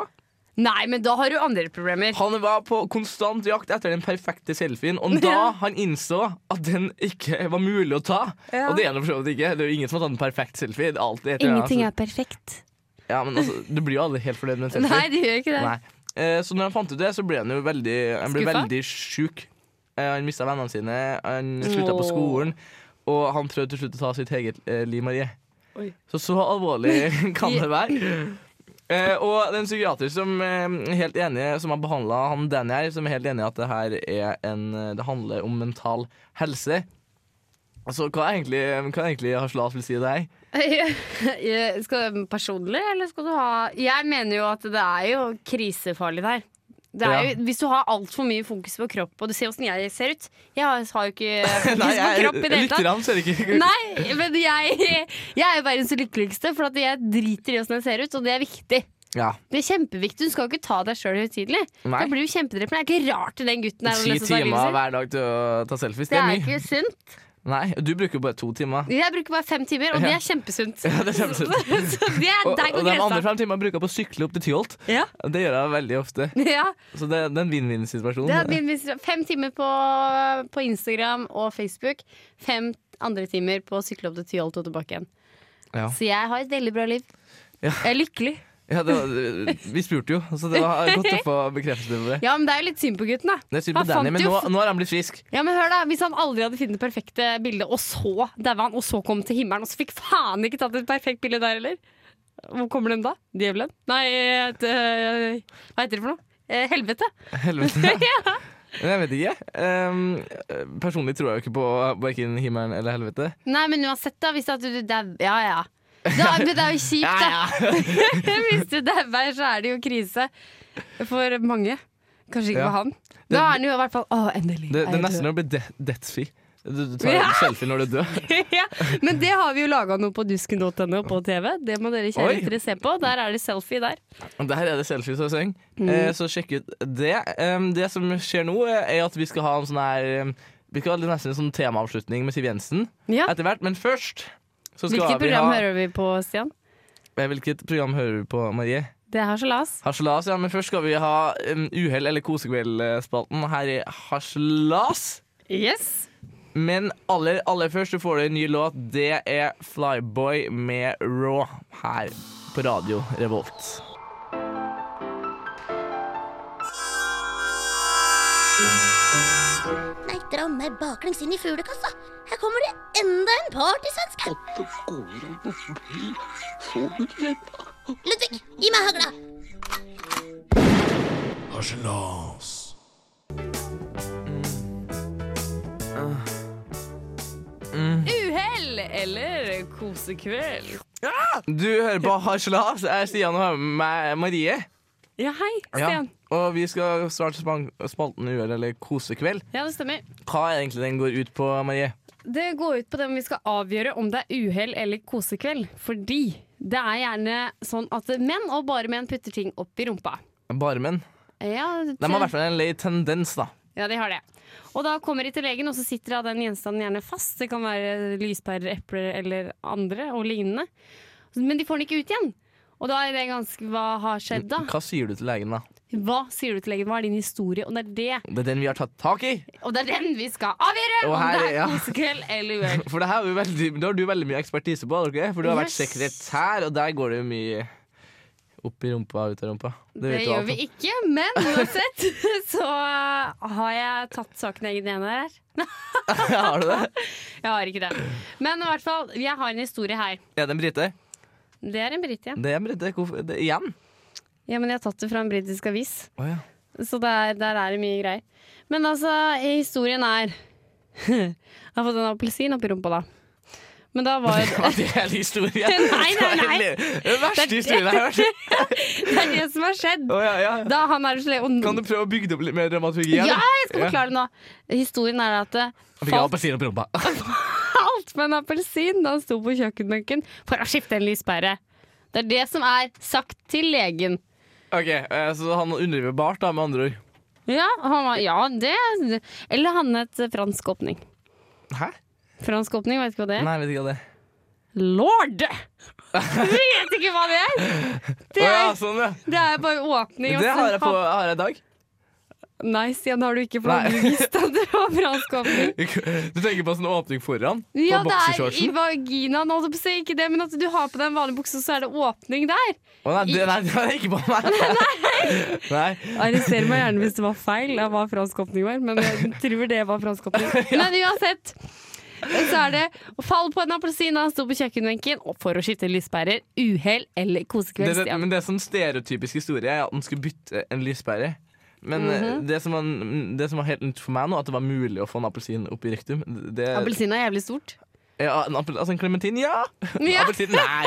Speaker 2: Nei, men da har du andre problemer.
Speaker 4: Han var på konstant jakt etter den perfekte selfien, og da
Speaker 2: Ja.
Speaker 4: han innså at den ikke var mulig å ta
Speaker 2: Ja.
Speaker 4: Og det er det for så vidt ikke. Det er jo ingen som har tatt en perfekt selfie. Det er alltid et eller annet,
Speaker 2: Ingenting er perfekt.
Speaker 4: altså. ja, men altså, Du blir jo aldri helt fornøyd med en selfie.
Speaker 2: Nei, det gjør ikke det.
Speaker 4: Nei. Eh, Så når han fant ut det, så ble han jo veldig Han ble
Speaker 2: Skuffa?
Speaker 4: veldig sjuk. Eh, Han mista vennene sine, han slutta på
Speaker 2: Åh.
Speaker 4: skolen, og han prøvde til slutt å ta sitt eget eh, liv, Marie.
Speaker 2: Oi.
Speaker 4: Så så alvorlig kan det være. Eh, og det er en psykiater som eh, er helt enig Som har behandla han Danny her, som er helt enig i at det her er en eh, Det handler om mental helse. Altså, hva er egentlig, hva er egentlig Haslas vil si det her?
Speaker 2: Jeg- Skal Personlig, eller skal du ha Jeg mener jo at det er jo krisefarlig der. Det er
Speaker 4: Ja.
Speaker 2: jo, hvis du har altfor mye fokus på kropp, og du ser åssen jeg ser ut Jeg har, har jo ikke fokus på
Speaker 4: jeg,
Speaker 2: kropp i det hele tatt.
Speaker 4: lytterne ser ikke
Speaker 2: Nei, men jeg, jeg er jo verdens lykkeligste, for at jeg driter i åssen jeg ser ut, og det er viktig.
Speaker 4: Ja.
Speaker 2: Det er kjempeviktig, Du skal jo ikke ta deg sjøl høytidelig.
Speaker 4: Nei.
Speaker 2: Da blir du kjempedrepende. Det er ikke rart til den gutten er å
Speaker 4: Ti
Speaker 2: lese seg
Speaker 4: timer
Speaker 2: lidelser.
Speaker 4: hver dag til å ta
Speaker 2: Det
Speaker 4: selfies. Det er
Speaker 2: er
Speaker 4: mye.
Speaker 2: ikke sunt.
Speaker 4: Nei, du bruker jo bare to timer.
Speaker 2: Jeg bruker bare fem timer, og det
Speaker 4: Ja.
Speaker 2: er kjempesunt.
Speaker 4: Ja, det er kjempesunt.
Speaker 2: Så det er,
Speaker 4: Og,
Speaker 2: der
Speaker 4: og
Speaker 2: går
Speaker 4: de andre
Speaker 2: grensa.
Speaker 4: fem timene bruker jeg på å sykle opp til Tyholt.
Speaker 2: Ja.
Speaker 4: Det gjør jeg veldig ofte.
Speaker 2: Ja.
Speaker 4: Så det, det er en vinn-vinn-situasjon.
Speaker 2: Det er min visdom. Fem timer på, på Instagram og Facebook. Fem andre timer på å sykle opp til Tyholt og tilbake igjen.
Speaker 4: Ja.
Speaker 2: Så jeg har et veldig bra liv.
Speaker 4: Ja.
Speaker 2: Jeg er lykkelig.
Speaker 4: Ja, det var, vi spurte jo, så det var godt å få bekreftelse på det.
Speaker 2: Ja, men det er jo litt synd på gutten, da.
Speaker 4: Det er synd på
Speaker 2: Han
Speaker 4: Danny,
Speaker 2: fant
Speaker 4: men
Speaker 2: jo
Speaker 4: nå,
Speaker 2: f-
Speaker 4: nå har han blitt frisk.
Speaker 2: Ja, men hør da, Hvis han aldri hadde funnet det perfekte bildet, og så daua han, og så kom til himmelen, og så fikk faen ikke tatt et perfekt bilde der heller. Hvor kommer den da? Djevelen? Nei, et, øh, hva heter det for noe? Eh, helvete.
Speaker 4: Helvete. Men Jeg vet ikke. Ehm, personlig tror jeg jo ikke på verken himmelen eller helvete.
Speaker 2: Nei, men uansett, da. Hvis at du dau... Ja ja. Da, men det er jo kjipt, da. Hvis du dauer, så er det jo krise for mange. Kanskje ikke
Speaker 4: Ja.
Speaker 2: for han. Da er han jo i hvert fall Å, endelig.
Speaker 4: Det,
Speaker 2: er
Speaker 4: det er
Speaker 2: jeg
Speaker 4: nesten
Speaker 2: død.
Speaker 4: å bli de deathfee. Du, du tar
Speaker 2: Ja.
Speaker 4: en selfie når du dør.
Speaker 2: ja, men det har vi jo laga noe på dusken.no på TV. Det må dere kjære
Speaker 4: Oi.
Speaker 2: lyttere se på. Der er det selfie der.
Speaker 4: Og Der er det selfies og seng.
Speaker 2: Mm.
Speaker 4: Eh, så sjekk ut det. Ehm, det som skjer nå, eh, er at vi skal ha en sånn her ehm, Vi skal ha nesten en sånn temaavslutning med Siv Jensen
Speaker 2: Ja.
Speaker 4: etter hvert, men først så skal
Speaker 2: Hvilket
Speaker 4: vi
Speaker 2: program
Speaker 4: ha,
Speaker 2: hører vi på, Stian?
Speaker 4: Eh, Hvilket program hører du på, Marie?
Speaker 2: Det er harselas.
Speaker 4: Harselas, ja, men først skal vi ha um, uhell- eller kosekveldspalten her i Harselas.
Speaker 2: Yes.
Speaker 4: Men aller, aller først så får du en ny låt. Det er Flyboy med Raw her på Radio Revolt.
Speaker 8: Nei, dra meg baklengs inn i fuglekassa. Her kommer det enda en partysvensk. Ludvig, gi meg hagla.
Speaker 2: Uhell eller kosekveld?
Speaker 4: Du hører på Harselas. Jeg er Stian og har med meg Marie.
Speaker 2: Ja, hei, Stian.
Speaker 4: Og vi skal starte span- spalten Uhell eller kosekveld.
Speaker 2: Ja, det stemmer.
Speaker 4: Hva er egentlig den går ut på, Marie?
Speaker 2: Det går ut på det om vi skal avgjøre om det er uhell eller kosekveld. Fordi det er gjerne sånn at menn, og bare menn, putter ting opp i rumpa.
Speaker 4: Bare menn.
Speaker 2: Ja,
Speaker 4: De har i hvert fall en lei tendens, da.
Speaker 2: Ja, de har det. Og da kommer de til legen, og så sitter da den gjenstanden gjerne fast. Det kan være lyspærer, epler eller andre og lignende. Men de får den ikke ut igjen. Og da er det ganske Hva har skjedd, da?
Speaker 4: Hva sier du til legen, da?
Speaker 2: Hva sier du til legen? Hva er din historie? Og det er det,
Speaker 4: Det er den vi har tatt tak i.
Speaker 2: og det er den vi skal avgjøre!
Speaker 4: Og
Speaker 2: Om
Speaker 4: her
Speaker 2: det
Speaker 4: er-
Speaker 2: er
Speaker 4: ja.
Speaker 2: kosekveld eller uhell.
Speaker 4: For det her er jo veldig, det har du veldig mye ekspertise på, har du ikke? for du har
Speaker 2: Yes.
Speaker 4: vært sekretær, og der går det jo mye opp i rumpa og ut av rumpa. Det,
Speaker 2: Det
Speaker 4: vet du
Speaker 2: gjør
Speaker 4: alt
Speaker 2: vi
Speaker 4: om.
Speaker 2: ikke, men uansett så har jeg tatt saken i egne hender her.
Speaker 4: har du det?
Speaker 2: Jeg har ikke det. Men i hvert fall, jeg har en historie her.
Speaker 4: Er det en brite?
Speaker 2: Det er en brite, ja.
Speaker 4: Det er en brite. Hvorfor det, Igjen?
Speaker 2: ja. Men jeg har tatt det fra en britisk avis.
Speaker 4: Å ja.
Speaker 2: Så der, der er det mye greier. Men altså, historien er Jeg har fått en appelsin oppi rumpa, da. Men da var
Speaker 4: Ja, det er hele historien.
Speaker 2: Nei, nei, nei.
Speaker 4: Det er Den verste historien jeg har hørt.
Speaker 2: det er det som har skjedd.
Speaker 4: Å ja, ja.
Speaker 2: Da han er slem og-
Speaker 4: Kan du prøve å bygge det opp litt mer dramaturgi?
Speaker 2: Ja,
Speaker 4: eller?
Speaker 2: jeg skal forklare det nå. Historien er at det
Speaker 4: Jeg fikk
Speaker 2: falt,
Speaker 4: appelsin opp i rumpa.
Speaker 2: falt med en appelsin da han sto på kjøkkenbenken for å skifte en lyspære. Det er det som er sagt til legen.
Speaker 4: Ok, eh, Så han underdriver bart, da, med andre ord.
Speaker 2: Ja, han var, ja det Eller han het fransk åpning.
Speaker 4: Hæ?
Speaker 2: Fransk åpning, vet ikke hva det er?
Speaker 4: Nei, jeg vet ikke hva det er.
Speaker 2: Lord! Du vet ikke hva det er! Det
Speaker 4: Å ja,
Speaker 2: er,
Speaker 4: sånn, ja.
Speaker 2: det er bare åpning. og
Speaker 4: Det
Speaker 2: så-
Speaker 4: har jeg på har jeg i dag.
Speaker 2: Nei, Stian, har du ikke
Speaker 4: Nei.
Speaker 2: flagget visst at det var fransk åpning?
Speaker 4: Du tenker på en sånn åpning foran?
Speaker 2: Ja, det er i
Speaker 4: på boksershortsen?
Speaker 2: vaginaen, holdt jeg på å si. Ikke det, men at du har på deg en vanlig bukse, så er det åpning der.
Speaker 4: Å nei, det, nei, det var ikke på meg. Nei.
Speaker 2: Arrester meg gjerne hvis det var feil av hva fransk åpning var, men jeg tror det var fransk åpning. Men uansett. Så er det fall på en appelsin da han sto på kjøkkenbenken og for å skyte lyspærer. Uhell eller
Speaker 4: Det,
Speaker 2: kosekveld,
Speaker 4: det,
Speaker 2: Stian.
Speaker 4: men det som stereotypisk historie er at man skulle bytte en lyspære. Men
Speaker 2: Mhm.
Speaker 4: eh, det, som var, det som var helt nytt for meg nå, at det var mulig å få en appelsin opp i rektum det,
Speaker 2: Appelsin er jævlig stort.
Speaker 4: Ja, en appel, altså en klementin, ja!
Speaker 2: Ja.
Speaker 4: Appelsin, nei!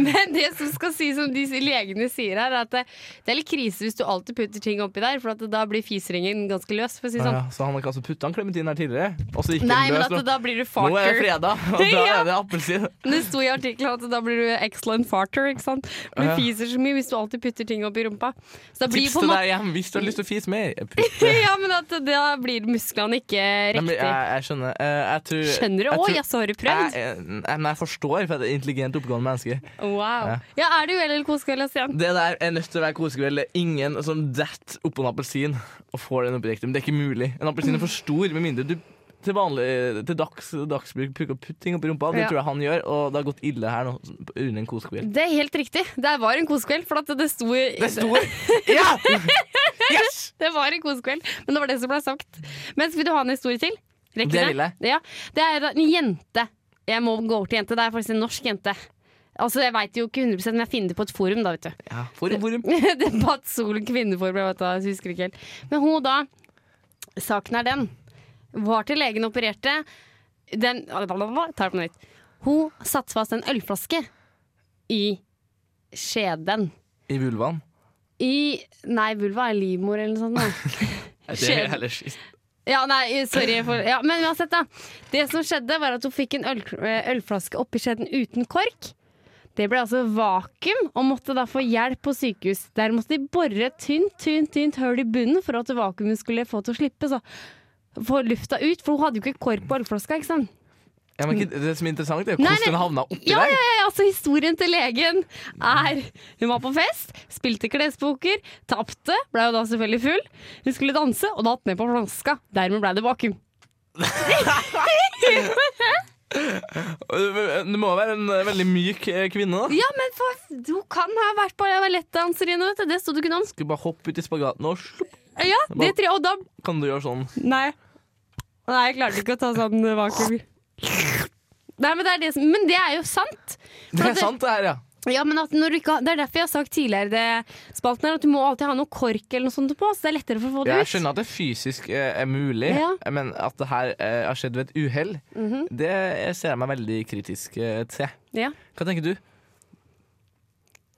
Speaker 2: Men det som skal sies, som de legene sier her, er at det, det er litt krise hvis du alltid putter ting oppi der, for at da blir fisringen ganske løs. For å si det
Speaker 4: Ah,
Speaker 2: sånn.
Speaker 4: ja, så han har altså putta en klementin her tidligere, og så gikk
Speaker 2: Nei,
Speaker 4: den
Speaker 2: men
Speaker 4: løs.
Speaker 2: at det,
Speaker 4: nå.
Speaker 2: da blir du
Speaker 4: Nå er det
Speaker 2: farter.
Speaker 4: fredag, og da
Speaker 2: Ja.
Speaker 4: er det appelsin.
Speaker 2: Det sto i artikkelen at da blir du excellent farter. ikke sant? Du
Speaker 4: Ja.
Speaker 2: fiser så mye hvis du alltid putter ting oppi rumpa. Så da blir
Speaker 4: Tips
Speaker 2: på
Speaker 4: til
Speaker 2: en
Speaker 4: deg
Speaker 2: måte
Speaker 4: hjem hvis du har lyst til å fise mer. Putt det.
Speaker 2: ja, men at da blir musklene ikke
Speaker 4: Nei, men
Speaker 2: riktig.
Speaker 4: Jeg, jeg skjønner. Eh, Jeg tror,
Speaker 2: Skjønner du?
Speaker 4: jeg
Speaker 2: Å,
Speaker 4: tror-
Speaker 2: jaså, har du
Speaker 4: Jeg,
Speaker 2: prøvd?
Speaker 4: jeg, nei, men jeg forstår, for jeg er et intelligent, oppegående menneske.
Speaker 2: Wow.
Speaker 4: Ja.
Speaker 2: Ja, er det uhell eller kosekveld, Stian?
Speaker 4: Det der er nødt til å være kosekveld. Det er ingen som detter oppå en appelsin og får den oppi rektum. Det er ikke mulig. En appelsin er for stor, med mindre du til vanlig Til dags, dagsbruk bruker å putte ting opp i rumpa. Det
Speaker 2: Ja.
Speaker 4: tror jeg han gjør, og det har gått ille her nå under en kosekveld.
Speaker 2: Det er helt riktig. Det var en kosekveld, for at det sto i-
Speaker 4: Det sto Ja! Yes!
Speaker 2: Det var en kosekveld, men det var det som ble sagt. Men vil du ha en historie til? Rekker
Speaker 4: Det vil jeg.
Speaker 2: Ja. Det er da en jente. Jeg må gå over til jente. Det er faktisk en norsk jente. Altså, Jeg veit jo ikke 100 men jeg finner det på et forum, da, vet du.
Speaker 4: Ja, for en forum.
Speaker 2: Debattsol kvinneforum, jeg vet da, jeg husker ikke helt. Men hun da Saken er den. Var til legen opererte. Den Blablabla, Tar det på nytt. Hun satte fast en ølflaske i skjeden.
Speaker 4: I vulvaen.
Speaker 2: I Nei, vulva er livmor eller noe sånt. da.
Speaker 4: Det
Speaker 2: Skjer.
Speaker 4: er heller skitt.
Speaker 2: Ja, nei, sorry for ja, Men uansett, da. Det som skjedde, var at hun fikk en øl, eh, ølflaske oppi skjeden uten kork. Det ble altså vakuum, og måtte da få hjelp på sykehus. Der måtte de bore et tynt, tynt, tynt hull i bunnen for at vakuumet skulle få til å slippe. Så få lufta ut, for hun hadde jo ikke kork på ølflaska, ikke sant.
Speaker 4: Ja, men ikke, det som er interessant, er jo
Speaker 2: Nei,
Speaker 4: hvordan
Speaker 2: nei.
Speaker 4: den havna oppi
Speaker 2: Ja, ja,
Speaker 4: der.
Speaker 2: ja, altså historien til legen er Hun var på fest, spilte klespoker, tapte, ble jo da selvfølgelig full. Hun skulle danse og datt ned på flaska. Dermed ble det vakuum.
Speaker 4: Det må være en eh, veldig myk eh, kvinne, da.
Speaker 2: Ja, men for, du kan ha vært ballettdanser i noe, vet du. det sto det ikke noe om.
Speaker 4: Skulle bare hoppe uti spagaten og slupp,
Speaker 2: Ja, det tre, og da
Speaker 4: kan du gjøre sånn.
Speaker 2: Nei. Nei, jeg klarte ikke å ta sånn eh, vakuum. Nei, men det, er det som, men det er jo sant.
Speaker 4: Det
Speaker 2: at
Speaker 4: er sant, det her, ja.
Speaker 2: Ja, men at når du ikke har, Det er derfor jeg har sagt tidligere i det spalten her, at du må alltid ha noe kork eller noe sånt på, så det er lettere for å få det
Speaker 4: Jeg
Speaker 2: ut.
Speaker 4: skjønner at det fysisk eh, er mulig,
Speaker 2: Ja. Mhm.
Speaker 4: men at det her eh, har skjedd ved et uhell, det ser jeg meg veldig kritisk eh, til.
Speaker 2: Ja.
Speaker 4: Hva tenker du?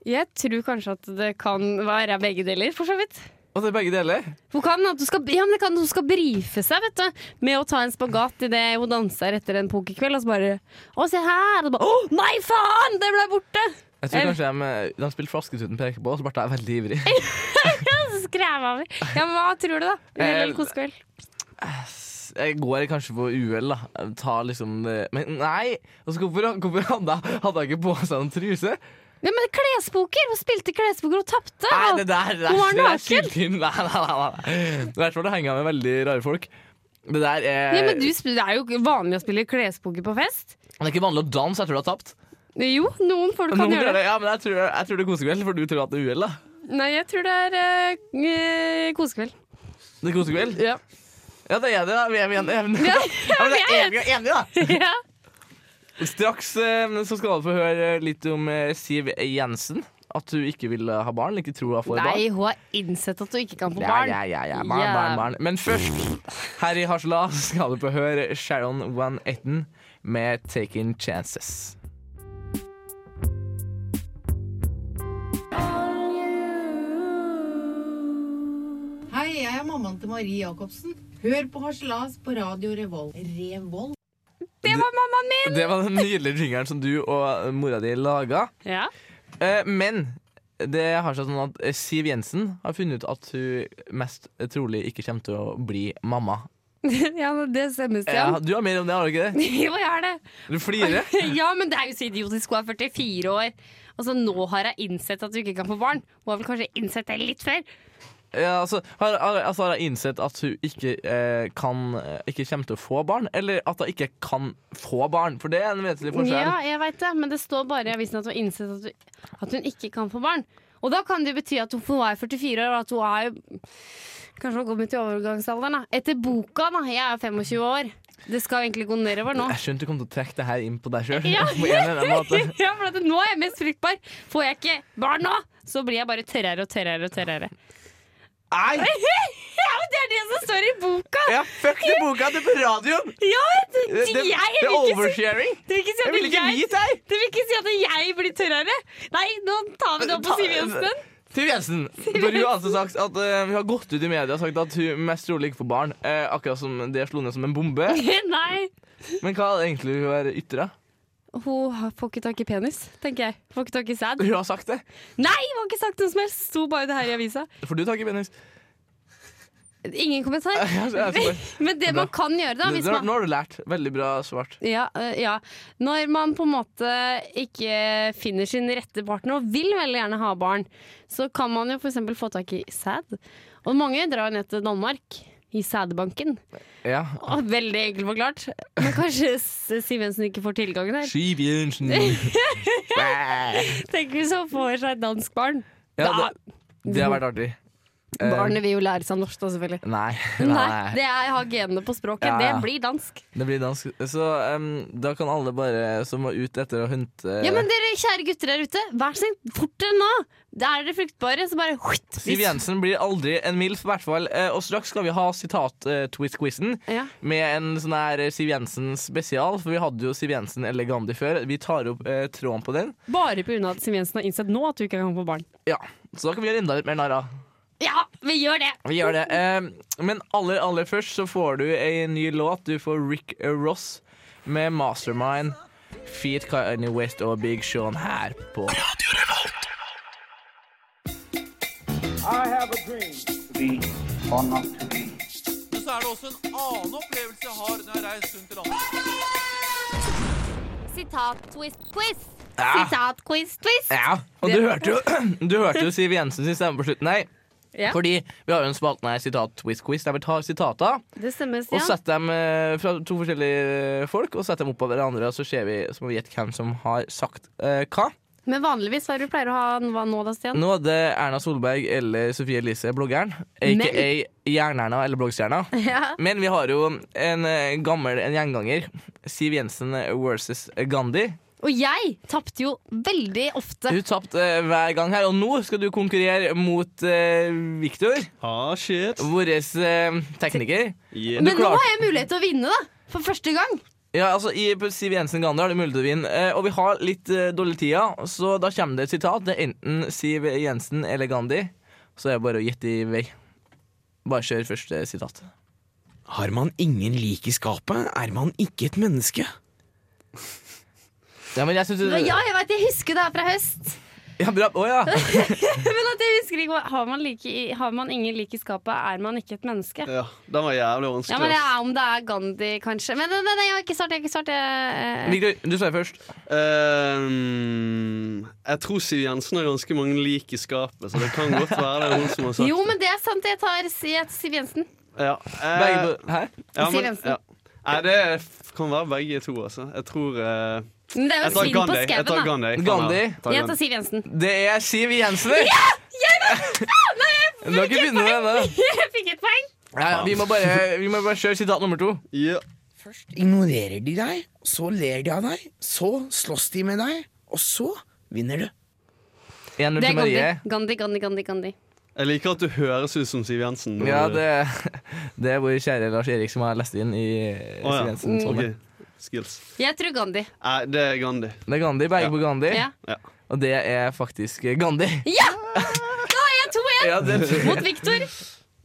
Speaker 2: Jeg tror kanskje at det kan være begge deler, for så vidt.
Speaker 4: Og det er begge deler.
Speaker 2: Hun kan at hun skal, ja, men det kan at hun skal brife seg vet du, med å ta en spagat idet hun danser etter en pokerkveld. Og så bare Å, se her! Og bare, Å, nei, faen! Det ble borte!
Speaker 4: Jeg tror
Speaker 2: Eller-
Speaker 4: kanskje de, eh, de spilte Flasketuten peker på, og så ble jeg veldig ivrig.
Speaker 2: Så skrev jeg over. Ja, men Hva tror du, da? Uhell
Speaker 4: Eh,
Speaker 2: eller kosekveld?
Speaker 4: Jeg går kanskje på uhell, da. Jeg Tar liksom det Men nei! Altså, hvorfor, hvorfor hadde jeg- hadde jeg ikke på seg noen truse?
Speaker 2: Ja, men klespoker! Hun spilte klespoker og tapte!
Speaker 4: Nei, det der, det der,
Speaker 2: Hun var
Speaker 4: det der
Speaker 2: naken.
Speaker 4: skyter inn. Nei, nei, nei, nei. I hvert fall det henger jeg med veldig rare folk. Det der er
Speaker 2: Ja, men du, sp- Det er jo ikke vanlig å spille klespoker på fest.
Speaker 4: Det er ikke vanlig å danse. Jeg tror du har tapt.
Speaker 2: Jo, noen folk kan
Speaker 4: Noen
Speaker 2: gjøre
Speaker 4: tror
Speaker 2: det.
Speaker 4: det, ja, men jeg tror, jeg tror det er kosekveld, for du tror at det er uhell, da.
Speaker 2: Nei, jeg tror det er eh, eh, kosekveld.
Speaker 4: Det er kosekveld?
Speaker 2: Ja.
Speaker 4: Ja, det er det, da. Vi er vi er enige. Ja, men det er vi er enige, da.
Speaker 2: ja.
Speaker 4: Straks eh, så skal du få høre litt om eh, Siv Jensen. At du ikke vil ha barn, ikke tror hun får barn.
Speaker 2: Nei, hun har innsett at hun ikke kan få
Speaker 4: Ja,
Speaker 2: barn.
Speaker 4: ja, ja, ja. Barn, barn, barn. Men først, her i Hasla, skal du få høre Sharon Van Etten med 'Taking Chances'.
Speaker 9: Hei, jeg er mammaen til Marie Jacobsen. Hør på Harselas på radio Revolt. Revolt?
Speaker 2: Det var mammaen min!
Speaker 4: Det var den nydelige jingeren som du og mora di laga.
Speaker 2: Ja.
Speaker 4: Eh, Men det har seg sånn at Siv Jensen har funnet ut at hun mest trolig ikke kommer til å bli mamma.
Speaker 2: ja, men det stemmer,
Speaker 4: Ja,
Speaker 2: Stian.
Speaker 4: du har mer om det, har du ikke det?
Speaker 2: Jo, jeg har det.
Speaker 4: Du flirer.
Speaker 2: Ja, men det er jo så idiotisk. Hun er 44 år. Altså, nå har jeg innsett at hun ikke kan få barn. Hun har vel kanskje innsett det litt før.
Speaker 4: Ja, altså, har, har, altså, har jeg innsett at hun ikke, eh, kan, eh, ikke kommer til å få barn, eller at hun ikke kan få barn? For det er en vesentlig forskjell.
Speaker 2: Ja, jeg vet det, men det står bare i avisen at hun har innsett at hun, at hun ikke kan få barn. Og da kan det jo bety at hun for hun er 44 år, og at hun er jo Kanskje hun har kommet til overgangsalderen, da. Etter boka, da. Jeg er 25 år. Det skal jo egentlig gå nedover nå.
Speaker 4: Jeg skjønte du kom til å trekke det her inn på deg sjøl.
Speaker 2: Ja.
Speaker 4: måte
Speaker 2: ja, for at nå er jeg mest fruktbar. Får jeg ikke barn nå, så blir jeg bare tørrere og tørrere og tørrere.
Speaker 4: Nei!
Speaker 2: ja, men det er det som står i boka!
Speaker 4: Ja, fuck den boka til på radioen!
Speaker 2: Ja, vet du,
Speaker 4: Det, det,
Speaker 2: jeg
Speaker 4: det er
Speaker 2: vil ikke si
Speaker 4: oversharing.
Speaker 2: det vil ikke si
Speaker 4: Jeg
Speaker 2: at
Speaker 4: vil ikke
Speaker 2: jeg-
Speaker 4: vite deg!
Speaker 2: det vil ikke si at jeg blir tørrere! Nei, nå tar vi det opp på
Speaker 4: Ta-
Speaker 2: Siv Jensen.
Speaker 4: Siv Jensen. For hun har altså sagt at eh, hun har gått ut i media og sagt at hun mest trolig ikke får barn. eh, akkurat som det slo ned som en bombe.
Speaker 2: Nei.
Speaker 4: Men hva er det egentlig hun har ytra?
Speaker 2: Hun har- får ikke tak i penis, tenker jeg. Får ikke tak i sæd.
Speaker 4: Hun har sagt det.
Speaker 2: Nei, hun har ikke sagt noe som helst! Sto bare det her i avisa.
Speaker 4: Får du tak i penis?
Speaker 2: Ingen kommentar.
Speaker 4: Ja, så er det så
Speaker 2: Men det man kan gjøre, da,
Speaker 4: Det-
Speaker 2: hvis
Speaker 4: det-
Speaker 2: man
Speaker 4: Nå har du lært. Veldig bra svart.
Speaker 2: Ja, øh, ja. Når man på en måte ikke finner sin rette partner og vil veldig gjerne ha barn, så kan man jo f.eks. få tak i sæd. Og mange drar ned til Danmark i sædbanken.
Speaker 4: Ja.
Speaker 2: Å, Veldig enkelt forklart. Men kanskje S- Siv Jensen ikke får tilgangen her.
Speaker 4: Siv Jensen.
Speaker 2: Tenk hvis hun får seg et dansk barn.
Speaker 4: Ja,
Speaker 2: da,
Speaker 4: Det har vært artig. Eh,
Speaker 2: barnet vil jo lære seg norsk da, selvfølgelig.
Speaker 4: Nei.
Speaker 2: Nei,
Speaker 4: nei.
Speaker 2: det er, har genene på språket.
Speaker 4: Ja, Eh.
Speaker 2: Det
Speaker 4: ja.
Speaker 2: blir dansk.
Speaker 4: Det blir dansk. Så em, da kan alle bare som var ute etter å hunte
Speaker 2: Ja, men dere kjære gutter der ute, vær så snill, fortere nå! Det er dere fruktbare, så bare huitt,
Speaker 4: Siv Jensen blir aldri en MILF, i hvert fall. Eh, Og straks skal vi ha sitat-twist-quizen
Speaker 2: Ja.
Speaker 4: med en sånn her Siv Jensen-spesial, for vi hadde jo Siv Jensen elegandi før. Vi tar opp eh, tråden på den.
Speaker 2: Bare pga. at Siv Jensen har innsett nå at hun ikke kan få barn.
Speaker 4: Ja, Så da kan vi gjøre enda litt mer narr av.
Speaker 2: Ja, vi gjør det!
Speaker 4: Vi gjør det. Eh, men aller, aller først så får du en ny låt. Du får Rick Ross med 'Mastermind'. Feat Kanye West og Big Sean her på
Speaker 2: Sitat-twist-quiz. Ah.
Speaker 4: Ja.
Speaker 2: Sitat-quiz-twvis.
Speaker 4: Ja, og du hørte jo, du hørte jo Siv Jensens stemme på slutten her.
Speaker 2: Ja.
Speaker 4: Fordi vi har jo en spalte her, sitat-quiz-quiz, der vi tar sitater
Speaker 2: Det stemmer,
Speaker 4: og
Speaker 2: Stian.
Speaker 4: setter dem eh, fra to forskjellige eh, folk og setter dem opp av hverandre, og så ser vi så må vi gjette hvem som har sagt eh, hva.
Speaker 2: Men vanligvis, hva er det du pleier å ha hva nå da, Stian?
Speaker 4: Nå er det Erna Solberg eller Sofie Elise, bloggeren, aka Jern-Erna eller Bloggstjerna.
Speaker 2: Ja.
Speaker 4: Men vi har jo en eh, gammel en gjenganger. Siv Jensen versus Gandhi.
Speaker 2: Og jeg tapte jo veldig ofte.
Speaker 4: Du tapte eh, hver gang her, og nå skal du konkurrere mot eh, Victor,
Speaker 1: Ah, shit.
Speaker 4: vår eh, tekniker.
Speaker 1: Yeah.
Speaker 2: Men nå
Speaker 4: klarte-
Speaker 2: har jeg mulighet til å vinne, da. For første gang.
Speaker 4: Ja, altså I på Siv Jensen Gandhi har du mulighet til å vinne, eh, og vi har litt eh, dårlig tid, så da kommer det et sitat. Det er enten Siv Jensen eller Gandhi. Så er det bare å gjette i vei. Bare kjør første sitat.
Speaker 10: Har man ingen lik i skapet, er man ikke et menneske.
Speaker 4: Ja, men jeg synes du...
Speaker 2: Ja, jeg vet, jeg husker det her fra høst.
Speaker 4: Ja, bra. Å ja.
Speaker 2: Men at jeg husker ikke hva- Har man, like, i- har man ingen lik i skapet, er man ikke et menneske.
Speaker 10: Ja, Den var jævlig vanskelig.
Speaker 2: Ja, men det
Speaker 10: ass.
Speaker 2: er Om det er Gandhi, kanskje. Men nei, nei, nei, jeg har ikke svart. Jeg har ikke svart jeg, eh,
Speaker 4: Victor, du svarer først.
Speaker 10: Ehm, jeg tror Siv Jensen har ganske mange lik i skapet, så det kan godt være det er hun som har sagt
Speaker 2: Jo, men det er sant. Jeg tar jeg, Siv Jensen.
Speaker 10: ja, eh,
Speaker 4: Begge på... Hæ?
Speaker 10: ja,
Speaker 2: Siv Jensen.
Speaker 10: Nei, det f- kan være begge to, altså. Jeg tror eh,
Speaker 2: Men det er
Speaker 10: Jeg
Speaker 2: jo
Speaker 10: tar
Speaker 2: svinn på
Speaker 10: Gandhi. Jeg tar
Speaker 2: skauen, da.
Speaker 10: Gandhi. Kan
Speaker 4: Gandhi.
Speaker 10: være. Tar
Speaker 2: Jeg tar
Speaker 10: Gandhi.
Speaker 2: Siv Jensen. Ah,
Speaker 4: Det er Siv Jensen! Ja! Jeg vant! Du har ikke vunnet ennå.
Speaker 2: Jeg fikk et poeng.
Speaker 4: Ja, ja, vi, må bare- vi må bare kjøre sitat nummer to.
Speaker 10: Ja.
Speaker 5: Ignorerer de deg, så ler de av deg, så slåss de med deg, og så vinner du.
Speaker 2: Det
Speaker 4: 1-0 til
Speaker 2: er Gandhi.
Speaker 4: Marie.
Speaker 2: Gandhi, Gandhi, Gandhi. Gandhi.
Speaker 10: Jeg liker at du høres ut som Siv Jensen. når
Speaker 4: Ja,
Speaker 10: du-
Speaker 4: det, det er vår kjære Lars Erik som har lest inn i
Speaker 10: Å,
Speaker 4: Siv
Speaker 10: ja.
Speaker 4: Jensen. sånn.
Speaker 10: Ok. Skills.
Speaker 2: Jeg tror Gandhi.
Speaker 10: Nei, det er Gandhi.
Speaker 4: Det er Gandhi. Begge på Gandhi.
Speaker 2: Ja.
Speaker 10: Ja.
Speaker 4: Og det er faktisk Gandhi.
Speaker 2: Ja! Da har jeg 2-1
Speaker 4: Ja, det, det
Speaker 2: mot Viktor.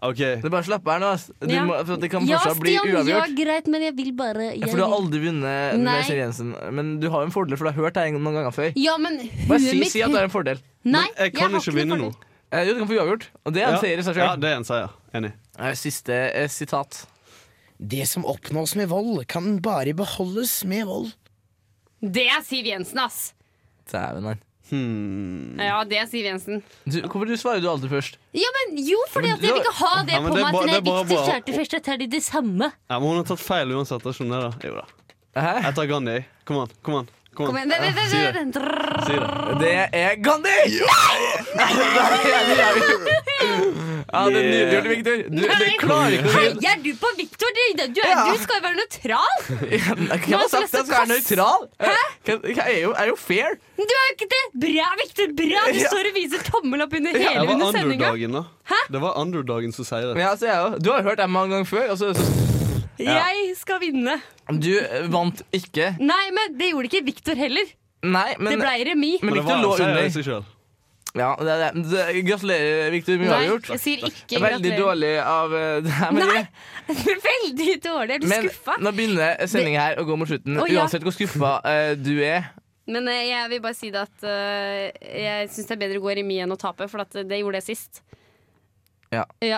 Speaker 10: OK.
Speaker 4: er bare å slappe her nå. ass. Du
Speaker 2: Ja.
Speaker 4: må, for at det kan
Speaker 2: Ja,
Speaker 4: fortsatt bli
Speaker 2: Stian. Ja,
Speaker 4: uavgjort.
Speaker 8: greit, men jeg vil bare
Speaker 4: Ja, for du har aldri vunnet
Speaker 2: Nei.
Speaker 4: med Siv Jensen. Men du har jo en fordel, for du har hørt det noen ganger før.
Speaker 2: Ja, men huet
Speaker 4: Bare si,
Speaker 2: mitt
Speaker 4: si at det er en fordel.
Speaker 2: Nei,
Speaker 10: Jeg kan
Speaker 2: har
Speaker 10: ikke
Speaker 2: noe
Speaker 10: vinne
Speaker 2: fordel.
Speaker 10: nå.
Speaker 4: Eh, jo, du kan få uavgjort. Og det er en seier i seg
Speaker 10: ja,
Speaker 4: sjøl.
Speaker 10: det er en seier. Enig.
Speaker 4: Siste eh, sitat.
Speaker 5: Det som oppnås med vold, kan bare beholdes med vold.
Speaker 2: Det er Siv Jensen, ass.
Speaker 4: Dæven, han.
Speaker 10: Hmm.
Speaker 2: Ja, det er Siv Jensen.
Speaker 4: Du, hvorfor du svarer du alltid først?
Speaker 2: Ja, men jo, fordi
Speaker 4: Men
Speaker 2: at jeg vil ikke ha det
Speaker 10: Ja, men
Speaker 2: på
Speaker 10: det er
Speaker 2: meg
Speaker 10: bare-
Speaker 2: til
Speaker 10: det er bare
Speaker 2: Victor
Speaker 10: bra.
Speaker 2: kjørte først.
Speaker 8: Jeg tar de det samme.
Speaker 10: Ja, men hun har tatt feil uansett. har ikke hun det, da? Jo da.
Speaker 4: Hæ?
Speaker 10: Jeg tar Gandhi. Kom an. Kom an. Kom
Speaker 2: Kom
Speaker 10: an.
Speaker 2: igjen. Vent, vent,
Speaker 10: Si det.
Speaker 2: vent, vent.
Speaker 10: Si det.
Speaker 4: Det er Gandhi! Nei! Ja, det er nydelig gjort, Victor. Du, du klarer ikke å
Speaker 2: Heier
Speaker 4: vinne.
Speaker 2: du på Victor? Du, du, er-
Speaker 4: Ja.
Speaker 2: du skal jo være nøytral!
Speaker 4: Hvem har sagt at jeg skal være nøytral? Hæ? Jeg er jo, jeg er jo fair.
Speaker 2: Du er jo ikke det! Bra, Victor! Bra! Du
Speaker 4: Ja.
Speaker 2: står og viser tommel opp under hele
Speaker 10: Det var
Speaker 2: under sendinga.
Speaker 10: underdagen, da. Det var underdagen som sier det.
Speaker 4: Men altså, jeg er jo, du har jo hørt det mange ganger før. Altså, så,
Speaker 2: Jeg skal vinne.
Speaker 4: du eh, vant ikke.
Speaker 2: Nei, men det gjorde ikke Victor heller.
Speaker 4: Nei,
Speaker 2: Det
Speaker 4: men,
Speaker 2: blei remis.
Speaker 4: men
Speaker 10: Men det
Speaker 4: Victor
Speaker 10: var altså,
Speaker 4: lå
Speaker 10: en seier i
Speaker 4: under.
Speaker 10: seg sjøl.
Speaker 4: Ja, det, er det, det, gratulerer, Victor. Mye
Speaker 2: Nei,
Speaker 4: avgjort.
Speaker 2: jeg sier ikke
Speaker 4: Veldig
Speaker 2: gratulerer.
Speaker 4: dårlig av eh, det her, Marie.
Speaker 2: Nei, veldig dårlig. Jeg
Speaker 4: Men
Speaker 2: blir skuffa.
Speaker 4: nå begynner sendingen her å gå mot slutten.
Speaker 2: Å, ja.
Speaker 4: Uansett hvor skuffa eh, du er.
Speaker 2: Men eh, jeg vil bare si det at eh, jeg syns det er bedre å gå i remis enn å tape, for at eh, det gjorde jeg sist.
Speaker 4: Ja.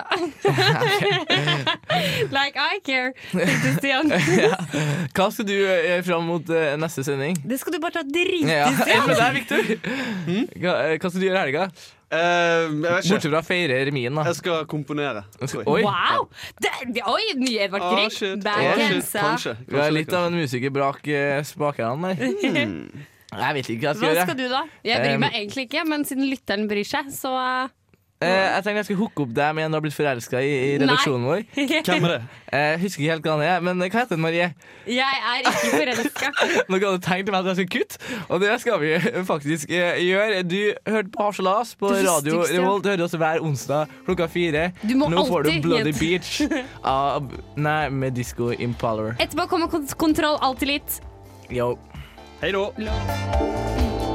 Speaker 2: like I care, tenkte Stian.
Speaker 4: Hva skal du gjøre fram mot eh, neste sending?
Speaker 2: Det skal du bare ta drit
Speaker 4: Ja, ja. Men det er Victor. Mm. Hva, eh, hva skal du gjøre i helga?
Speaker 10: Eh, jeg vet ikke.
Speaker 4: Bortsett fra å feire remien, da.
Speaker 10: Jeg skal komponere.
Speaker 4: Oi.
Speaker 2: Wow! Det, det, oi, ny Edvard
Speaker 10: Ah,
Speaker 2: Grieg.
Speaker 10: shit.
Speaker 2: Bag
Speaker 10: Ah, shit.
Speaker 2: grensa.
Speaker 10: Kanskje.
Speaker 4: Vi har
Speaker 10: Kanskje
Speaker 4: litt av en musikerbrak eh, spakene der. Jeg vet ikke
Speaker 10: Sånn
Speaker 4: hva jeg
Speaker 2: Hva
Speaker 4: skal gjøre.
Speaker 2: skal du, da? Jeg bryr
Speaker 4: Um,
Speaker 2: meg egentlig ikke, men siden lytteren bryr seg, så eh,
Speaker 4: Eh, jeg tenkte jeg skulle hooke opp deg med en du har blitt forelska i i
Speaker 2: Nei.
Speaker 4: redaksjonen vår. Eh,
Speaker 10: Hvem er det?
Speaker 4: Jeg husker ikke helt hva han er, men hva heter han, Marie?
Speaker 2: Jeg er ikke forelska.
Speaker 4: Nå kan du tenke meg at jeg skal kutte, og det skal vi faktisk eh, gjøre. Du hørte på Harselas på
Speaker 2: Det er det
Speaker 4: Radio
Speaker 2: styggeste.
Speaker 4: Revolt. Du hører oss hver onsdag klokka fire.
Speaker 2: Du må
Speaker 4: Nå får du
Speaker 2: alltid
Speaker 4: Bloody
Speaker 2: gjenta-
Speaker 4: Beach av Nei, med Disco Impaler.
Speaker 2: Etterpå kommer kont kontroll alltid litt.
Speaker 4: Yo.
Speaker 10: Hei da.